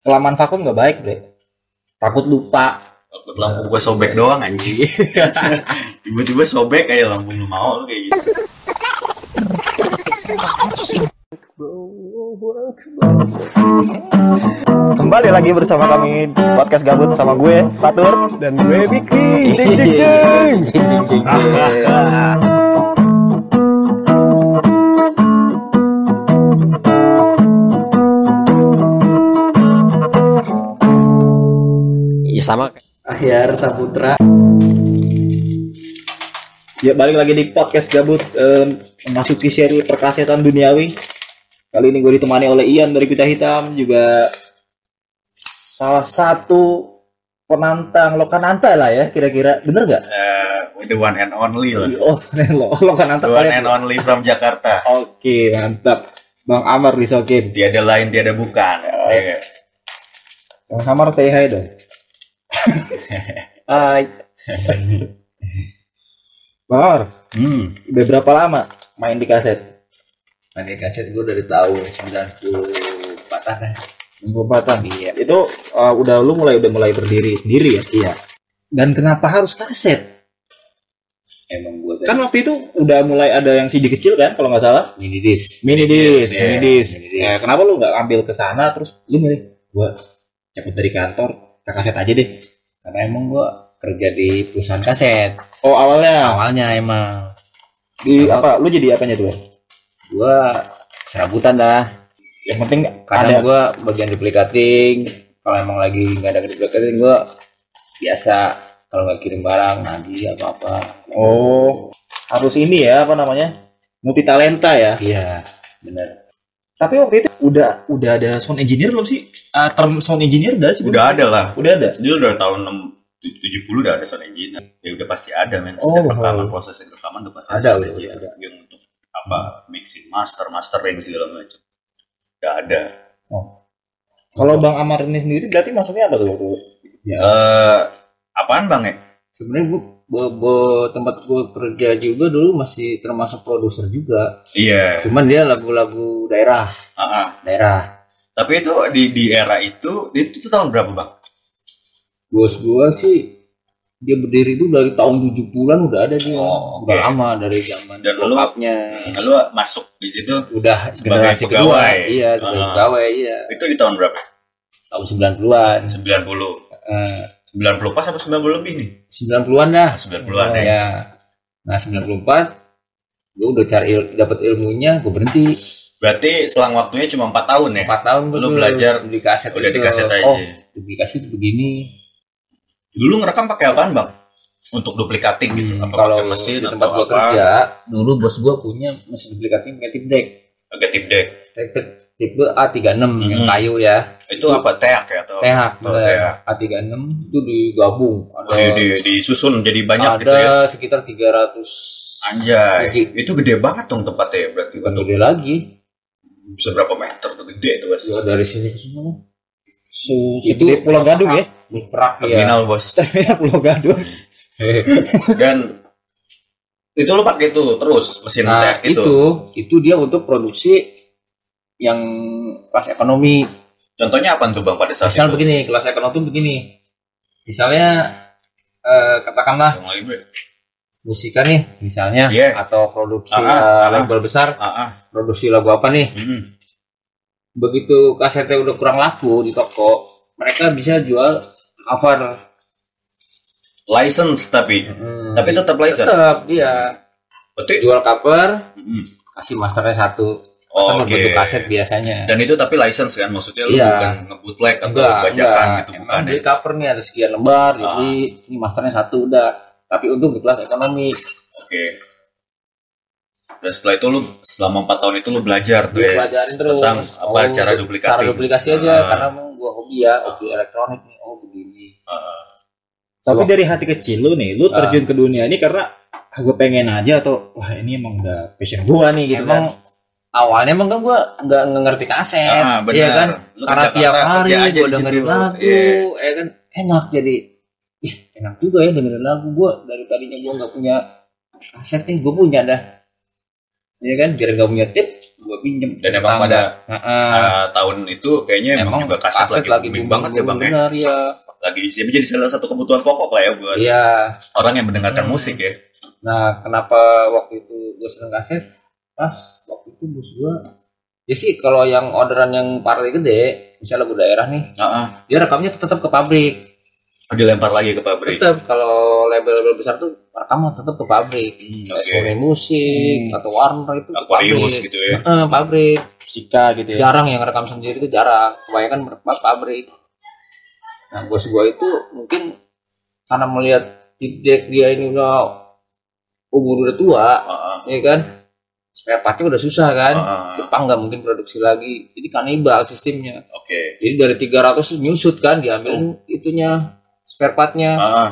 Kelamaan vakum nggak baik, Bre. Takut lupa. Takut lampu gua sobek doang anjing. Tiba-tiba sobek aja lampu lu mau lu kayak gitu. Kembali lagi bersama kami podcast gabut sama gue, Fatur. dan gue Bikri ding ding ding Ya sama Ahyar Saputra Ya balik lagi di podcast gabut em, memasuki seri perkasetan duniawi. Kali ini gue ditemani oleh Ian dari Pita Hitam juga salah satu penantang lokananta lah ya kira-kira bener nggak? Eh, the one and only lah. Oh, lo lokananta The one kalian. and only from Jakarta. Oke mantap, Bang Amar disokin. Tiada lain tiada bukan. Ya kan? Bang Amar saya hai dong. Hai. Bang Amar, Hmm. udah berapa lama main di kaset? Pakai kaset gue dari tahun 94 an Pengobatan. Iya Itu uh, udah lu mulai udah mulai berdiri sendiri ya? Iya Dan kenapa harus kaset? Emang gue dari Kan waktu itu udah mulai ada yang CD kecil kan kalau nggak salah? mini disc Mini disc, Iya, mini disc. mini disc. Ya, kenapa lu nggak ambil ke sana terus lu milih gua cepet dari kantor ke kaset aja deh. Karena emang gue kerja di perusahaan kaset Oh, awalnya Awalnya emang di apa? Lu jadi apanya tuh? Gue serabutan dah Yang penting Kadang ada gue bagian duplik cutting Kalau emang lagi nggak ada duplik cutting gue Biasa Kalau nggak kirim barang lagi apa-apa Oh, harus ini ya apa namanya? Multi talenta ya. Iya bener Tapi waktu itu udah udah ada sound engineer belum sih? Ah, term sound engineer udah sih? Udah ada lah. Udah ada. Dulu dari tahun 70 udah ada sound engineer. Ya udah pasti ada men. Setiap Oh. rekaman proses rekaman udah pasti Ada, sound udah, engineer. ada. Yang untuk apa mixing master mastering segala macam. Udah ada. Kalau Bang Amar ini sendiri berarti masuknya apa tuh waktu? Eh apaan bang ya? sebenarnya gue tempat gue kerja juga dulu masih termasuk produser juga Iya. cuman dia lagu-lagu daerah Ah, ah. daerah Tapi itu di di era itu itu tuh tahun berapa bang? bos gue sih dia berdiri itu dari tahun 70-an udah ada dia Oh, udah oke. lama dari zaman Dan lu- bokapnya Hmm, Lu masuk di situ udah sebagai generasi kedua pegawai. iya sebagai Ah. pegawai iya itu di tahun berapa? tahun 90-an 90 Eh, 90 pas apa 90 lebih nih? 90-an dah Ah, 90-an ya. ya nah 94 gue udah cari il- dapat ilmunya gue berhenti Berarti selang waktunya cuma 4 tahun ya? 4 tahun gua Lu tuh belajar, di kaset Udah itu. di kaset aja. oh duplikasi tuh begini Dulu ngerekam pakai apaan bang? Untuk duplikating gitu? Apa Hmm, kalau pakai mesin di atau tempat gua apa? kerja dulu bos gua punya mesin duplikatif kayak tip deck Agak tip deck. Tip- tip- tipe A36 yang Hmm. kayu ya Itu apa? Teak ya? Atau TH Oh, bener. TH. A36 itu digabung ada Di, di, disusun jadi iya, banyak ada gitu ya? sekitar 300 Jadi- Anjay, itu gede banget dong tempatnya ya berarti bukan untuk gede lagi bisa berapa meter tuh gede tuh bos. ya, dari sini ke sini Su Itu- itu Pulau Gadung ya? diperak ya Terminal bos. Terminal Pulau Gadung. Dan itu lu pakai itu terus mesin nah teak itu. itu itu dia untuk produksi yang kelas ekonomi Contohnya apa tuh bang pada saat misal itu? begini kelas ekonomi tuh begini misalnya eh, katakanlah Yang lagi, Bre. musika nih misalnya Iya. atau produksi Ah, ah, eh, ah. label besar Ah, ah. produksi lagu apa nih Mm. begitu kasetnya udah kurang laku di toko mereka bisa jual cover License tapi, Hmm, tapi tetap license. tetap iya Betul. jual cover Mm. kasih masternya satu Oh, Oke. sama bentuk kaset biasanya Dan itu tapi license kan maksudnya lu Iya. bukan ngebutleg atau enggak bajakan enggak gitu bukan emang ya. beli cover nih ada sekian lembar Ah. jadi ini masternya satu udah tapi untuk di kelas ekonomi Oke. Dan setelah itu lu selama 4 tahun itu lu belajar tuh gue ya. pelajarin terus Tentang apa, cara du- duplikasi. cara duplikasi aja Ah. karena emang gue hobi ya hobi elektronik nih oh begini Ah, Tapi Wah. dari hati kecil lu nih, lu Ah. terjun ke dunia ini karena ah, gue pengen aja atau wah ini emang udah passion gua nih gitu emang kan. awalnya emang kan gue nggak nggak ngerti kaset ah, Iya benar. kan Lu karena kerja tiap kerja hari aja gue di dengerin situ. lagu Iya. ya kan enak jadi ih enak juga ya dengerin lagu gue dari tadinya gue nggak punya kaset nih gue punya dah ya kan Iya biar nggak punya tip gue gue pinjem Dan emang Tetangga. pada Heeh. eh, tahun itu kayaknya emang, juga kaset, lagi booming banget ya bang ya. benar ya Lagi jadi jadi salah satu kebutuhan pokok lah ya buat iya Hmm. orang yang mendengarkan musik ya. nah kenapa waktu itu gue seneng kaset pas waktu itu bos gue ya sih kalau yang orderan yang partai gede misalnya lagu daerah nih Heeh. dia rekamnya tetap ke pabrik Dilempar lagi ke pabrik. tetap kalau label-label besar tuh rekamnya tetap ke pabrik Hmm, Kayak Oke. Sony musik atau warna itu ke Aquarius pabrik. gitu ya. Eh, pabrik Sika gitu ya. jarang yang rekam sendiri itu jarang kebanyakan merek pabrik nah bos gua itu mungkin karena melihat tidak dia ini udah umur udah tua Heeh. ya kan spare partnya udah susah kan Heeh. Jepang nggak mungkin produksi lagi jadi kanibal sistemnya Oke. jadi dari 300 nyusut kan Oh. diambil itunya spare partnya Heeh.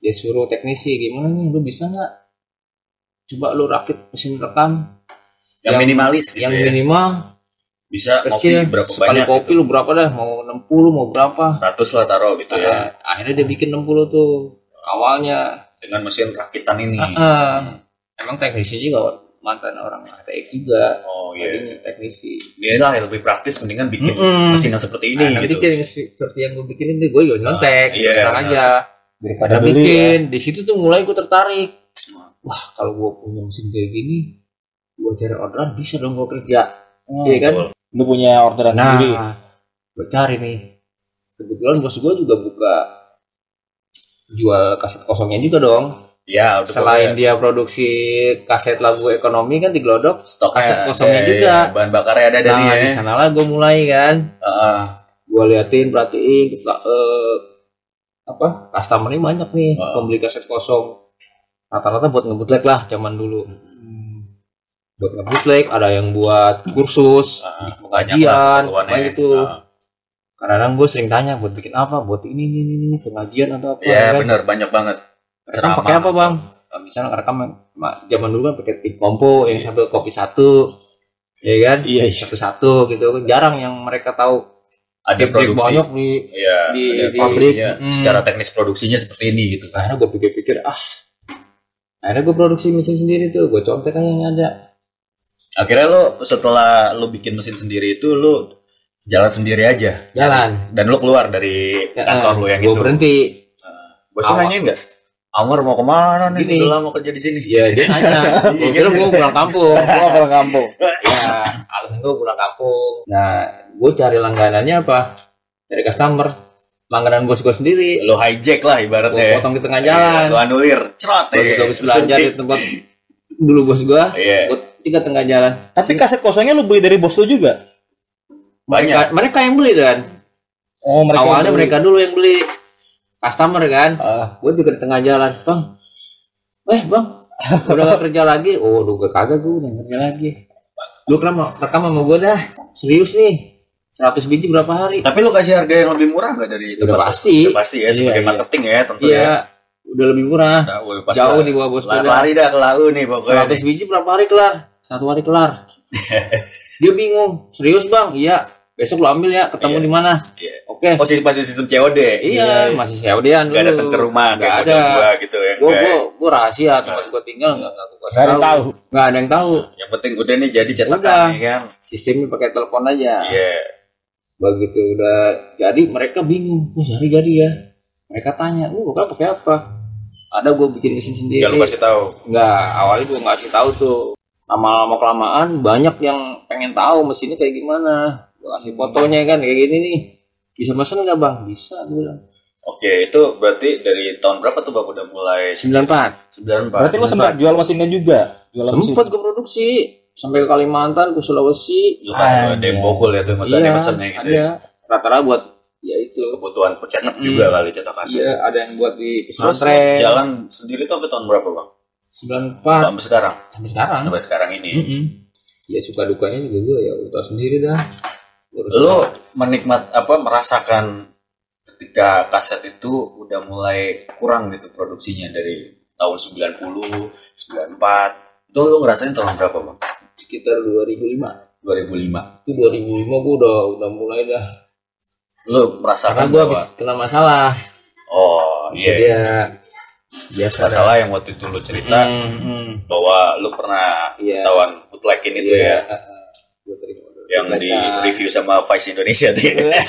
dia suruh teknisi gimana nih lu bisa nggak coba lu rakit mesin rekam Yang Yang- minimalis gitu yang ya. minimal Bisa kecil ngopi berapa sekali banyak kopi gitu. lu berapa dah mau 60 mau berapa 100 lah taruh gitu ya. Ah, akhirnya dia bikin 60 tuh awalnya Dengan mesin rakitan ini. Ah, ah. emang teknisi juga mantan orang HTX juga Oh iya. Jadinya teknisi Inilah yang lebih praktis mendingan bikin Mm-mm. mesin yang seperti Nah, ini nanti gitu. kayak yang seperti yang gue bikin ini gue juga nyontek iya, tenang benar. aja Daripada Gua beli ya. bikin di situ tuh mulai gue tertarik wah kalau gue punya mesin kayak gini ua cari orderan bisa dong gue kerja Hmm, iya kan betul. Lu punya orderan nah sendiri. gue cari nih kebetulan bos gue juga buka jual kaset kosongnya juga dong Ya, udah selain dia produksi kaset lagu ekonomi kan di Glodok stok kaset kosongnya juga. ya, bahan bakarnya ada dari nah ya. di sana lah gue mulai kan Heeh. gue liatin perhatiin la- eh, apa customer ini banyak nih Heeh. pembeli kaset kosong rata-rata buat ngebutlek lah zaman dulu buat ngebutlek ada yang buat kursus Heeh. pengajian Nah, keperluannya. apa itu Heeh. kadang-kadang gue sering tanya buat bikin apa buat ini ini ini, ini pengajian atau apa Ya, ya kan? benar banyak banget. rekam Ceramah. pakai apa bang Nah, misalnya rekam yang- ma- zaman dulu kan pakai tip kompo yang satu kopi satu ya kan Iya, iya. satu-satu gitu kan jarang yang mereka tahu Ada Tip-tip produksi. banyak di Iya, di- ada di- produksinya. Mm. Secara teknis produksinya seperti ini gitu kan. akhirnya gue pikir-pikir ah akhirnya gue produksi mesin sendiri tuh gue contek aja yang ada Akhirnya lo setelah lo bikin mesin sendiri itu lo jalan sendiri aja jalan dan lo keluar dari kantor lo yang gue itu. Ya, ah, berhenti Bos lo Awal. nanyain nggak? Amor mau kemana nih? Gini. Udah lama kerja di sini. ya dia nanya Iya, gue kira gue pulang kampung Gua kalau kampung. ya alasan gue pulang kampung nah gue cari langganannya apa cari customer langganan bos gue sendiri Lo hijack lah gue ibaratnya. potong di tengah jalan Lo anulir, cerot. ya. habis habis belanja di Suntik. tempat dulu bos gua Iya. gua tiga tengah jalan Tapi kaset kosongnya lu beli dari bos lu juga. mereka Banyak. mereka yang beli kan Oh, mereka awalnya beli. mereka dulu yang beli customer kan Ah. gua juga di tengah jalan bang eh bang udah gak kerja lagi oh lu gua kagak gua udah kerja lagi lu rekam rekam sama gua dah serius nih 100 biji berapa hari Tapi lo kasih harga yang lebih murah nggak dari tempat? udah pasti Udah pasti ya sebagai Iya, iya. marketing ya tentunya. iya udah lebih murah Nah, udah pasti jauh lah. di bawah bos gua Lari, dah. lari dah ke lau nih pokoknya. 100 biji berapa hari kelar? Satu hari kelar. Dia bingung. Serius bang? Iya. Besok lo ambil ya. Ketemu Iya. di mana? Iya. Oke. Posisi pasti sistem COD. Iya. Masih seaudian dulu. Gak datang ke rumah Gak kayak ada. model gua gitu ya. Gue Nggak. gue gue rahasia. Tempat gue tinggal nggak nggak gue Nggak ada yang tahu. Nggak ada yang tahu. Yang penting udah nih jadi Udah. cetakan ya kan. Sistemnya pakai telepon aja. Iya. Begitu udah jadi mereka bingung. Oh sehari jadi ya. Mereka tanya, lu bakal pakai apa? Ada gue bikin mesin sendiri. Jangan lupa kasih tahu. Enggak, awalnya gue ngasih tahu tuh. Lama-lama kelamaan banyak yang pengen tahu mesinnya kayak gimana. Gue kasih fotonya kan kayak gini nih. Bisa mesen nggak bang? Bisa gue bilang. Oke, itu berarti dari tahun berapa tuh Bang udah mulai 94. 94. Berarti lu sempat jual mesinnya juga. Jual mesin. Sempet gue produksi sampai ke Kalimantan, ke Sulawesi. Lu kan ada yang bogol ya tuh masa ada Iya, pesannya gitu ya. ada. Rata-rata buat ya itu. Kebutuhan pencetak Mm. juga kali cetakan. Iya, ada yang buat di Terus pesantren. jalan sendiri tuh sampai tahun berapa Bang? 94 Sampai sekarang. sampai sekarang. Sampai sekarang ini. Ah. Mm-mm. Ya suka dukanya juga gue ya, lu tau sendiri dah. Urus Lu menikmat apa merasakan ketika kaset itu udah mulai kurang gitu produksinya dari tahun 90, 94. Itu lu ngerasain tahun berapa, Bang? sekitar 2005. 2005. itu 2005 gue udah udah mulai dah Lu karena merasakan gue bahwa- habis kena masalah Oh, kan iya. ya biasa dah. Masalah yang waktu itu lu cerita Hmm, hmm. bahwa lu pernah Iya. ketahuan bootlegin itu Iya. ah. ya. yang di review sama Vice Indonesia tuh ya. Iya.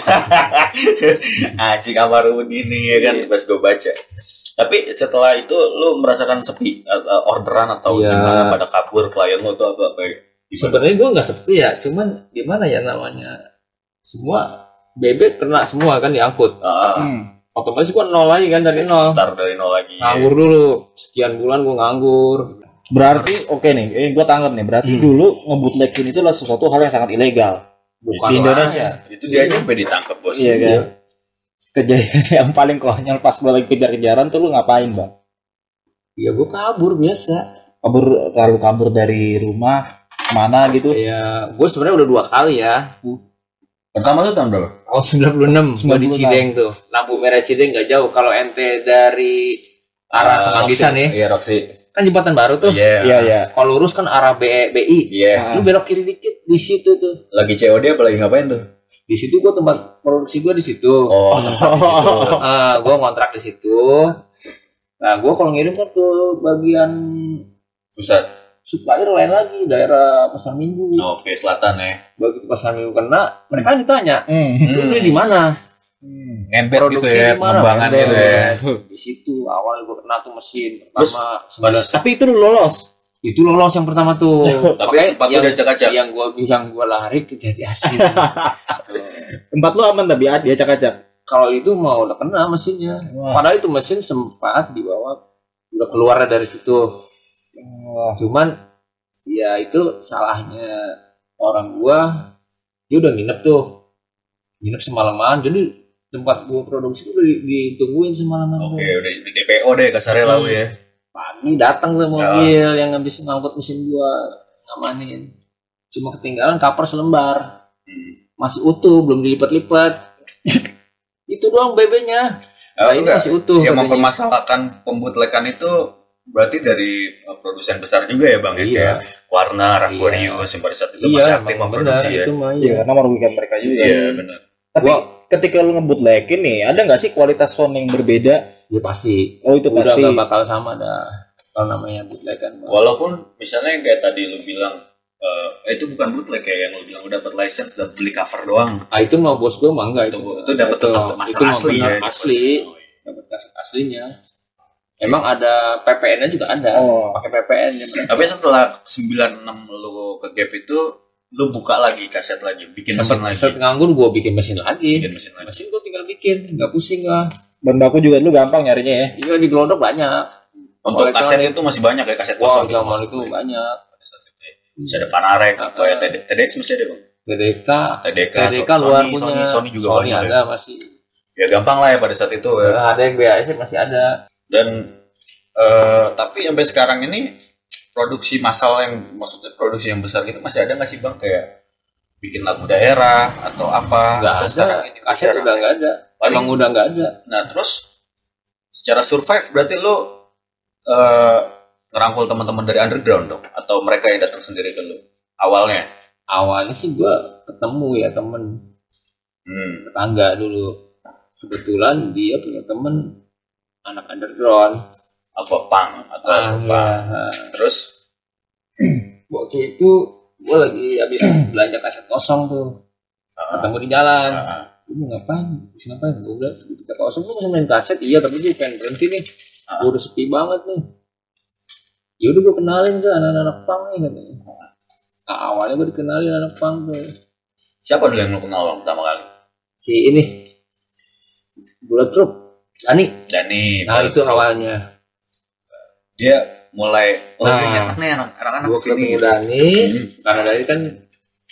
anjing Amarudin nih ya Iya. kan pas gue baca tapi setelah itu lu merasakan sepi eh, eh, orderan atau Iya. gimana pada kabur klien lu tuh apa apa sebenarnya gue nggak sepi ya cuman gimana ya namanya semua bebek kena semua kan diangkut Ah, Hmm. otomatis gue nol lagi kan dari nol start dari nol lagi nganggur dulu sekian bulan gue nganggur Berarti oke nih, ini gue tanggap nih. Berarti Hmm. dulu ngebutlekin itu adalah sesuatu hal yang sangat ilegal bukan ya. di lah. Indonesia. itu dia aja sampai ditangkap bos Iya kan. Kejadian yang paling konyol pas gue lagi kejar-kejaran tuh lu ngapain bang? ya gue kabur biasa Kabur kalau kabur dari rumah mana gitu? ya gue sebenarnya udah dua kali ya pertama tuh tahun berapa tahun 96 gue di 96. Cideng tuh lampu merah Cideng gak jauh kalau ente dari arah Ah, Kemanggisan Roxy. ya iya Roxy kan jembatan baru tuh iya Iya iya. kalau lurus kan arah B- BI Ah. iya lu belok kiri dikit di situ tuh lagi COD apa lagi ngapain tuh di situ gue tempat produksi gue di situ oh gitu. Eh, gue ngontrak di situ. Nah, gue kalau ngirim kan ke bagian pusat supplier lain lagi, daerah pasar minggu. oh, oke selatan ya Begitu pasar minggu kena, mereka kan ditanya, Hmm. lu beli di mana? Hmm, ngember gitu Produksi ya di mana? pengembangan Ngember. gitu ya Di situ awalnya gue kena tuh mesin pertama sembilan. Tapi itu lu lolos. Itu lolos yang pertama tuh. tapi Makanya tempat yang, udah acak-acak yang gue bilang gue lari ke jati asih. Tempat lu aman tapi ah, dia acak-acak. kalau itu mau udah kena mesinnya. Wah. Padahal itu mesin sempat dibawa udah keluar dari situ. Oh, cuman ya itu salahnya orang gua dia udah nginep tuh nginep semalaman jadi tempat gua produksi tuh di- ditungguin semalaman tuh. oke udah di DPO deh kasarnya lalu Hmm. ya pagi datang tuh mobil yang habis ngangkut mesin gua ngamanin cuma ketinggalan kaper selembar masih utuh belum dilipat-lipat itu doang bebeknya Ah, nah, ini enggak. masih utuh yang katanya. mempermasalahkan pembutlekan itu berarti dari uh, produsen besar juga ya bang ya Iya. kayak Warner, Aquarius yang pada saat itu iya masih aktif emang memproduksi benar, ya itu mah iya. Iya karena merugikan mereka juga. iya benar Tapi Gua- ketika lu ngebutlekin nih, ada nggak sih kualitas sound yang berbeda? Ya, pasti Oh itu udah pasti. gak bakal sama dah kalau namanya bootleg kan Bang. walaupun misalnya yang kayak tadi lu bilang uh, eh, itu bukan bootleg ya yang lu bilang udah dapat license dan beli cover doang ah itu mah bos gue mah enggak itu itu itu dapat itu, tetap master itu mah asli benar ya asli dapat kaset aslinya emang ada PPN nya juga ada Oh. pakai PPN nya mereka tapi setelah 96 lu ke gap itu lu buka lagi kaset lagi bikin mesin lagi Set nganggur gue bikin mesin lagi bikin mesin lagi mesin gue tinggal bikin nggak pusing lah Bahan baku juga lu gampang nyarinya ya. iya di gelodok banyak untuk Oleh kaset karena- itu masih banyak ya kaset wah kosong gitu zaman maksud itu Hmm. gue. banyak Pada saat itu ya. Masih ada Panarek apa ya TD TDX masih ada bang TDK TDK, TDK Sony, kan luar Sony, punya Sony juga banyak ada Iya. masih ya gampang lah ya pada saat itu ya. ada yang BAS masih ada dan eh, tapi sampai sekarang ini produksi massal yang maksudnya produksi yang besar gitu masih ada nggak sih bang kayak bikin lagu daerah atau apa nggak Atau ada kaset jarang udah ya? nggak ada Paling- emang udah nggak ada nah terus secara survive berarti lo eh, ngerangkul teman-teman dari underground dong atau mereka yang datang sendiri ke lo awalnya awalnya sih gue ketemu ya temen hmm. tetangga dulu kebetulan dia punya temen anak underground apa pang atau apa Nah, terus waktu itu gue lagi habis belanja kaset kosong tuh ketemu di jalan ah, lu mau ngapain Habis ngapain gue bilang kita kosong lu masih main kaset iya tapi gue pengen berhenti nih gue udah sepi banget nih ya udah gue kenalin ke anak-anak pang nih katanya Nah, awalnya gue dikenalin anak pang tuh siapa dulu yang lo kenal bang pertama kali si ini bulat truk Ani Dani nah itu awalnya dia mulai oh Nah. ternyata nih anak anak-anak gue sini ketemu Dani Hmm. karena dari kan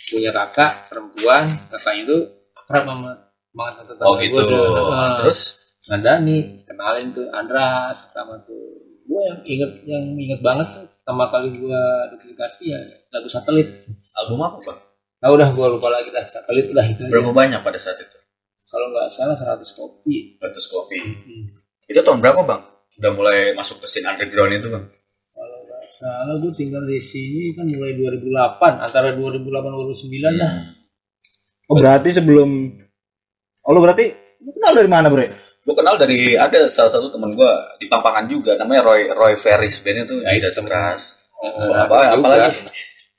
punya kakak perempuan kakaknya itu akrab sama banget sama tetangga oh gua gitu tuh. Heeh. terus nah Dani kenalin ke Andra sama tuh gue yang inget yang inget banget tuh pertama kali gue notifikasi ya lagu satelit album apa bang nah udah gue lupa lagi dah satelit udah itu aja. berapa banyak pada saat itu kalau nggak salah 100 kopi Ratus kopi Hmm. itu tahun berapa bang udah mulai masuk ke scene underground itu bang kalau nggak salah gue tinggal di sini kan mulai 2008 antara 2008 2009 dah Oh berarti sebelum Oh lu berarti lu kenal dari mana bre? gue kenal dari ada salah satu temen gue di Pampangan juga namanya Roy Roy Ferris band itu ya, Ya, itu Midas temen. Keras Eh, apa juga. apalagi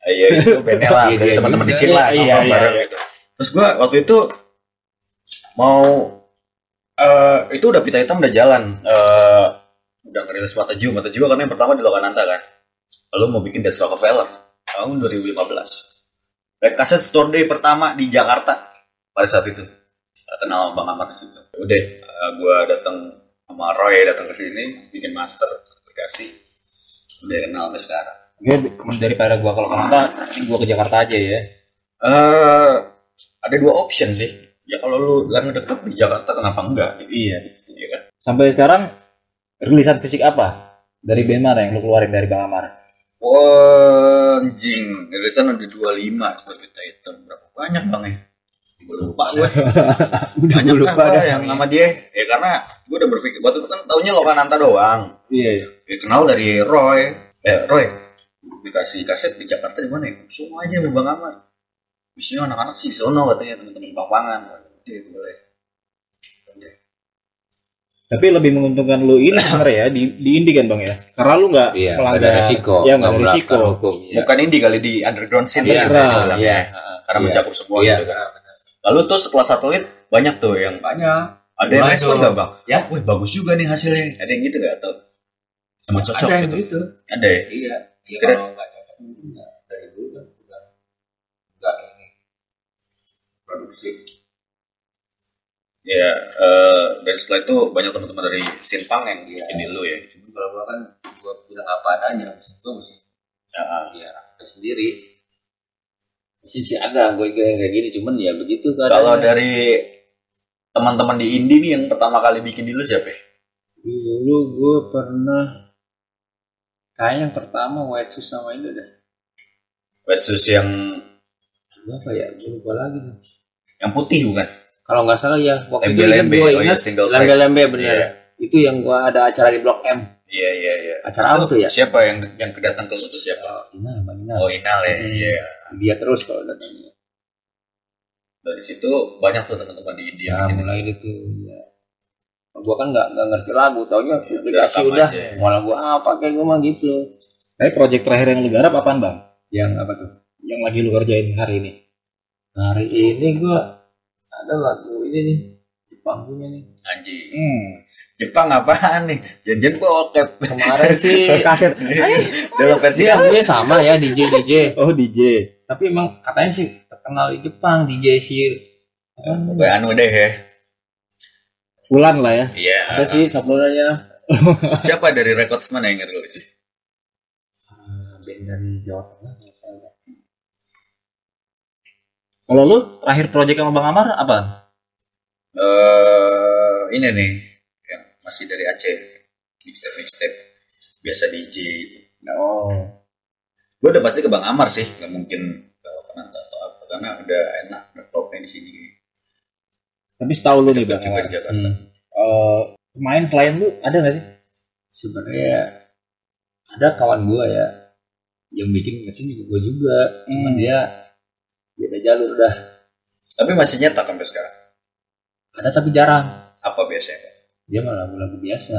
iya itu bandnya lah Iya, dari iya, teman-teman di iya, sini lah iya, nongkrong iya, bareng iya. gitu terus gue waktu itu mau eh itu udah pita hitam udah jalan eh udah ngerilis mata jiwa mata jiwa karena yang pertama di Lokananta kan lalu mau bikin Death Rockefeller tahun 2015 Red Cassette Store Day pertama di Jakarta pada saat itu Eh, kenal sama Bang Ahmad di situ Ya udah gue datang sama Roy datang ke sini bikin master aplikasi udah kenal sampai sekarang Iya, Gue daripada gua kalau Kanada, mending gua ke Jakarta aja ya. eh ada dua option sih. Ya kalau lu lagi deket di Jakarta kenapa enggak? Iya, iya kan. Sampai sekarang rilisan fisik apa? Dari band mana yang lu keluarin dari Bang Amar? Wah, anjing, rilisan ada 25 kalau kita hitung berapa banyak bang ya? Gua lupa gue. banyak gua lupa lupa dah. yang nama dia. Ya karena gue udah berpikir waktu itu kan tahunya Lokananta doang. Iya, iya. Ya, kenal dari Roy. Eh, Roy. Dikasih kaset di Jakarta di mana ya? Semua aja sama Bang Amar. Biasanya anak-anak sih di sono katanya teman-teman lapangan. Iya, boleh. Tapi lebih menguntungkan lu ini sebenarnya ya di di indie kan bang ya. Karena lu nggak Iya, nggak ada melanggar resiko, Ya nggak ada melanggar resiko. hukum. Iya. Bukan indie kali di underground scene Iya, lah kita iya, bilang. iya. karena Iya. mencakup semua Iya. gitu kan. Lalu tuh setelah satelit banyak tuh yang Banyak. ada yang Mulai respon tuh. nggak bang? Ya. Wih bagus juga nih hasilnya. Ada yang gitu nggak atau sama cocok ada yang gitu? gitu. Ada ya. Iya. Ya, Kira- kalau nggak cocok mungkin nggak. dari dulu kan udah nggak ini produksi. Ya. eh, dan setelah itu banyak teman-teman dari Sinpang yang Iya. bikin lu ya. Cuma kalau gua kan gua bilang apa adanya, musik gua musik Ah, ya gua sendiri. Musik sih ada, gue kayak gini, cuman ya begitu kan. Kalau dari teman-teman di Indi nih yang pertama kali bikin di lu siapa? ya? dulu gue pernah kayak yang pertama White Shoes sama itu dah. Wetsus yang Gua apa ya? Gue lupa lagi nih. yang putih bukan? Kalau nggak salah ya waktu itu ingat Lembe-lembe. gue Oh, iya, ingat single track. lembe-lembe bener. Iya. Itu yang gua ada acara di Blok M. Iya iya iya. Acara apa Itu tuh ya? Siapa yang yang kedatang ke lu tuh siapa? Inal, Bang Inal. Oh Inal ya. Hmm. Iya. Dia terus kalau datangnya. Dari situ banyak tuh teman-teman di Indi Ya, yang bikin. mulai itu. Ya. Gua kan nggak nggak ngerti lagu, taunya Ya, publikasi rekam udah. aja ya. Mau lagu apa kayak gua mah gitu. Tapi project terakhir yang lu garap apaan bang? Yang apa tuh? Yang lagi lu kerjain hari ini? Hari ini gua ada lagu ini nih. Jepang punya nih. Anjing. Hmm. Jepang apaan nih? Janjian bokep. Kemarin sih Eh, Kaset. Dalam versi kan? dia dia sama ya DJ DJ. Oh DJ. Tapi emang katanya sih terkenal di Jepang DJ si apa namanya? Gue anu deh ya. Fulan lah ya. Iya. Ada sih sebelumnya Siapa dari records mana yang ngerilis? Ah, band dari Jawa Tengah ya saya. Kalau lu terakhir project sama Bang Amar apa? Eh ini nih yang masih dari Aceh. Mixtape mixtape. Biasa DJ. Oh. Gue Nah, udah pasti ke Bang Amar sih, nggak mungkin ke penantang atau apa karena udah enak udah klopnya di sini. Tapi setahu lu nih Bang Juga Amar. di Jakarta. Hmm. Eh, pemain selain lu ada nggak sih? Sebenarnya ada kawan gua ya yang bikin mesin juga gua juga. Cuman Hmm. dia beda jalur dah. Tapi masih nyetak sampai sekarang. Ada tapi jarang. Apa biasanya? Pak? Dia malah lagu-lagu biasa.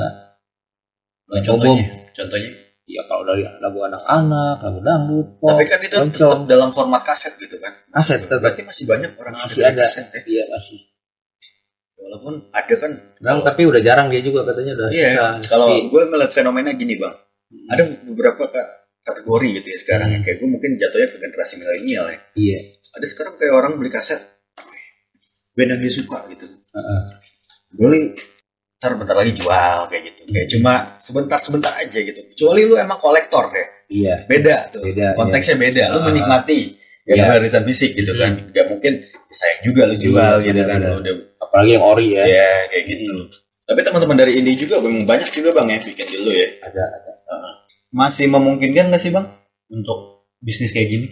Nah, contohnya, contohnya. Ya kalau dari lagu anak-anak, lagu dangdut, pop, Tapi kan itu tetap keroncong. dalam format kaset gitu kan. Oh, Kaset tetap. Berarti masih banyak orang yang masih dengerin ada. kaset ya. Iya masih. Walaupun ada kan Bang, tapi udah jarang dia juga katanya udah Iya, susah. kalau Tapi- Hmm. gue ngeliat fenomena gini bang, ada beberapa ka- kategori gitu ya sekarang. ya. Kayak gue mungkin jatuhnya ke generasi milenial ya. iya. Ada sekarang kayak orang beli kaset, wih, band yang dia suka gitu. Heeh. Beli, ntar bentar lagi jual kayak gitu. Kayak cuma sebentar sebentar aja gitu. Kecuali lu emang kolektor deh, Iya. beda tuh. Beda, Konteksnya beda. Lu menikmati. Ya, Iya. Hmm. Dari riset fisik gitu kan, gak mungkin sayang juga lu jual Iya, gitu kan, lu udah Apalagi yang ori ya. ya kayak gitu. Tapi teman-teman dari Indi juga memang banyak juga bang ya bikin dulu ya. Ada ada. masih memungkinkan nggak sih bang untuk bisnis kayak gini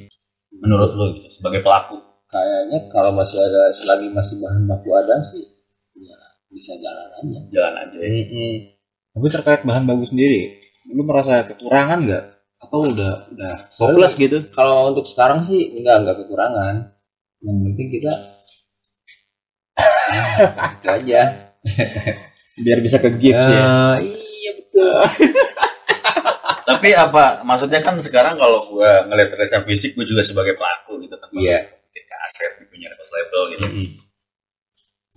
menurut lo gitu sebagai pelaku Kayaknya kalau masih ada selagi masih bahan baku ada sih ya bisa jalan aja. jalan aja ya. Tapi terkait bahan bagus sendiri, lu merasa kekurangan nggak? Atau udah udah surplus gitu? Kalau untuk sekarang sih enggak enggak kekurangan. Yang penting kita Nah, itu aja. ya? Ah. Eh, Biar bisa ke gift ya. iya betul. Tapi apa maksudnya kan sekarang kalau gua ngeliat rilisan fisik gua juga sebagai pelaku gitu kan. Iya. Ketika aset punya record label gitu.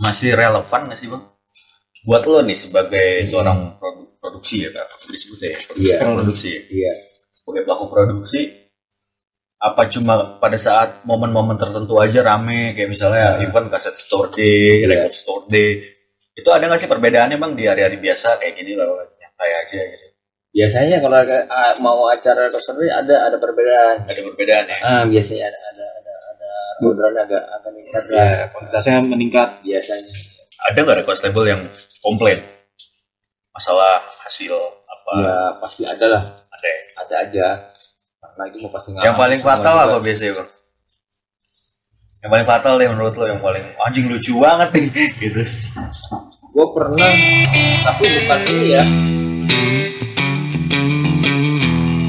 Masih relevan gak sih, Bang? Buat lo nih sebagai seorang produ- produksi ya, Kak. Disebut ya, produksi, Hmm. Iya. produksi. Iya. Sebagai pelaku produksi apa cuma pada saat momen-momen tertentu aja rame kayak misalnya event kaset store day, Iya. record store day. Itu ada nggak sih perbedaannya Bang di hari-hari biasa kayak gini lah nyantai aja gitu. Biasanya kalau ke- ah, mau acara restoran ada ada perbedaan. Ada perbedaan ya. Ah, biasanya ada ada ada ada orderan agak agak meningkat lah Ya, Iya, kualitasnya meningkat biasanya. ada nggak request label yang komplain masalah hasil apa Ya pasti ada lah, ada ya? ada aja. Lagi mau pasti yang ngalah paling Nah, sama fatal juga. apa biasanya bang yang paling fatal deh menurut lo yang paling anjing lucu banget nih gitu gue pernah tapi bukan ini ya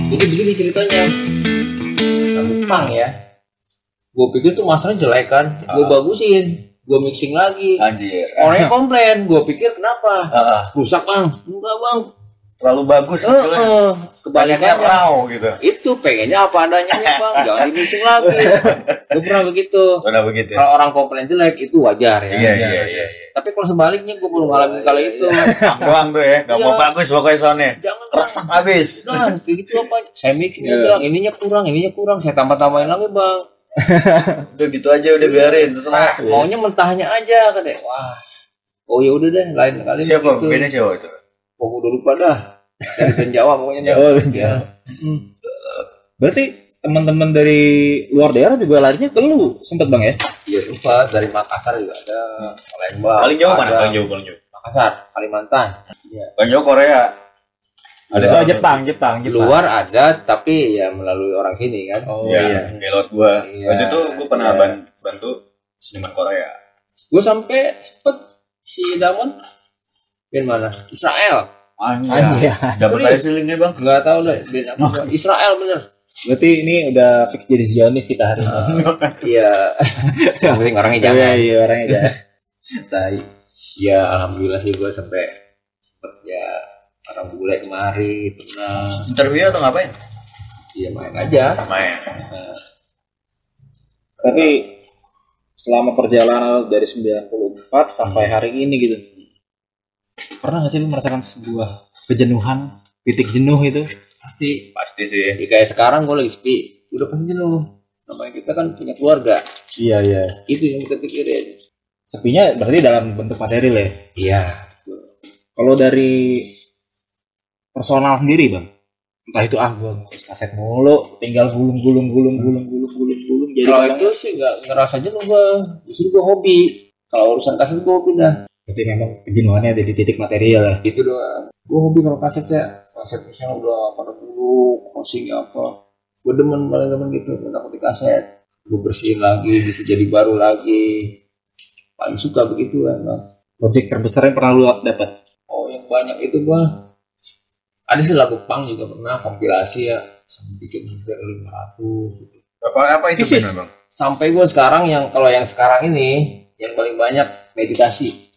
jadi begini ceritanya lagu pang ya gue pikir tuh masternya jelek kan gue Ah. bagusin gue mixing lagi anjir orangnya komplain gue pikir kenapa Ah, ah, rusak bang enggak bang terlalu bagus Eh, gitu lah. eh, Pengennya kebalikannya raw gitu itu pengennya apa adanya ya, bang jangan di mixing lagi gue pernah begitu karena begitu ya? kalau orang komplain jelek itu wajar ya iya iya iya iya. tapi kalau sebaliknya gue belum ngalamin kali itu Ang doang tuh ya nggak mau Iya. bagus pokoknya soundnya jangan keresek abis Jangan, kayak gitu apa? Saya mikir dia bilang ininya kurang, ininya kurang. Saya tambah-tambahin lagi bang. udah gitu aja udah biarin terserah Maunya mentahnya aja katanya. Wah, oh ya udah deh, lain kali. siapa gitu. beda siapa itu Oh, gua udah lupa dah. Dari band Jawa pokoknya. dah. oh, iya. berarti teman-teman dari luar daerah juga larinya ke lu sempet bang ya Iya lupa dari Makassar juga ada. Palembang. paling jauh mana ada. paling jauh paling jauh Makassar, Kalimantan. paling jauh Korea ada oh, satu- Jepang Jepang Di Jepang luar ada, tapi ya melalui orang sini kan. oh ya, iya kayak lewat gua. Iya. Waktu itu gua pernah Iya. ban- bantu seniman Korea. Gue sampai sempet si Damon. Band mana? Israel. Anjir. Iya. Dapat Serius? tadi feelingnya, Bang. Nggak tahu deh. Band apa? Israel bener. berarti ini udah fix jadi Zionis kita hari ini Iya. Yang penting orangnya Oh, jangan. Ah. iya iya orangnya aja tai Ya alhamdulillah sih gue sampai sempet ya orang bule kemari pernah Interview atau ngapain? ya main aja. Nah, Main. tapi selama perjalanan dari 94 sampai hari ini gitu pernah gak sih lu merasakan sebuah kejenuhan titik jenuh itu Pasti. Pasti sih. Jadi kayak sekarang gue lagi sepi. Udah pasti jenuh. Namanya kita kan punya keluarga. iya iya Itu yang kita pikirin. sepinya berarti dalam bentuk material ya Iya. kalau dari personal sendiri bang entah itu ah gua ngurus kaset mulu tinggal gulung gulung gulung gulung gulung gulung gulung jadi Kalau kadang- itu sih nggak ngerasa jenuh gue. Justru gue hobi. Kalau urusan kaset gue pindah. berarti memang kejenuhannya ada di titik material ya Itu Gitu doang. Gue hobi kalau kaset ya. Kaset misalnya udah pada dulu crossing apa. Gue demen paling demen gitu. Gue takut kaset. Gue bersihin lagi. Bisa jadi baru lagi. Paling suka begitu kan. Mas. project terbesar yang pernah lu dapat Oh yang banyak itu gue. Ada sih lagu punk juga pernah. Kompilasi ya. Sampai bikin hampir 500 gitu. Apa apa itu Isis. benar, Bang? Sampai gue sekarang yang. Kalau yang sekarang ini. Yang paling banyak meditasi.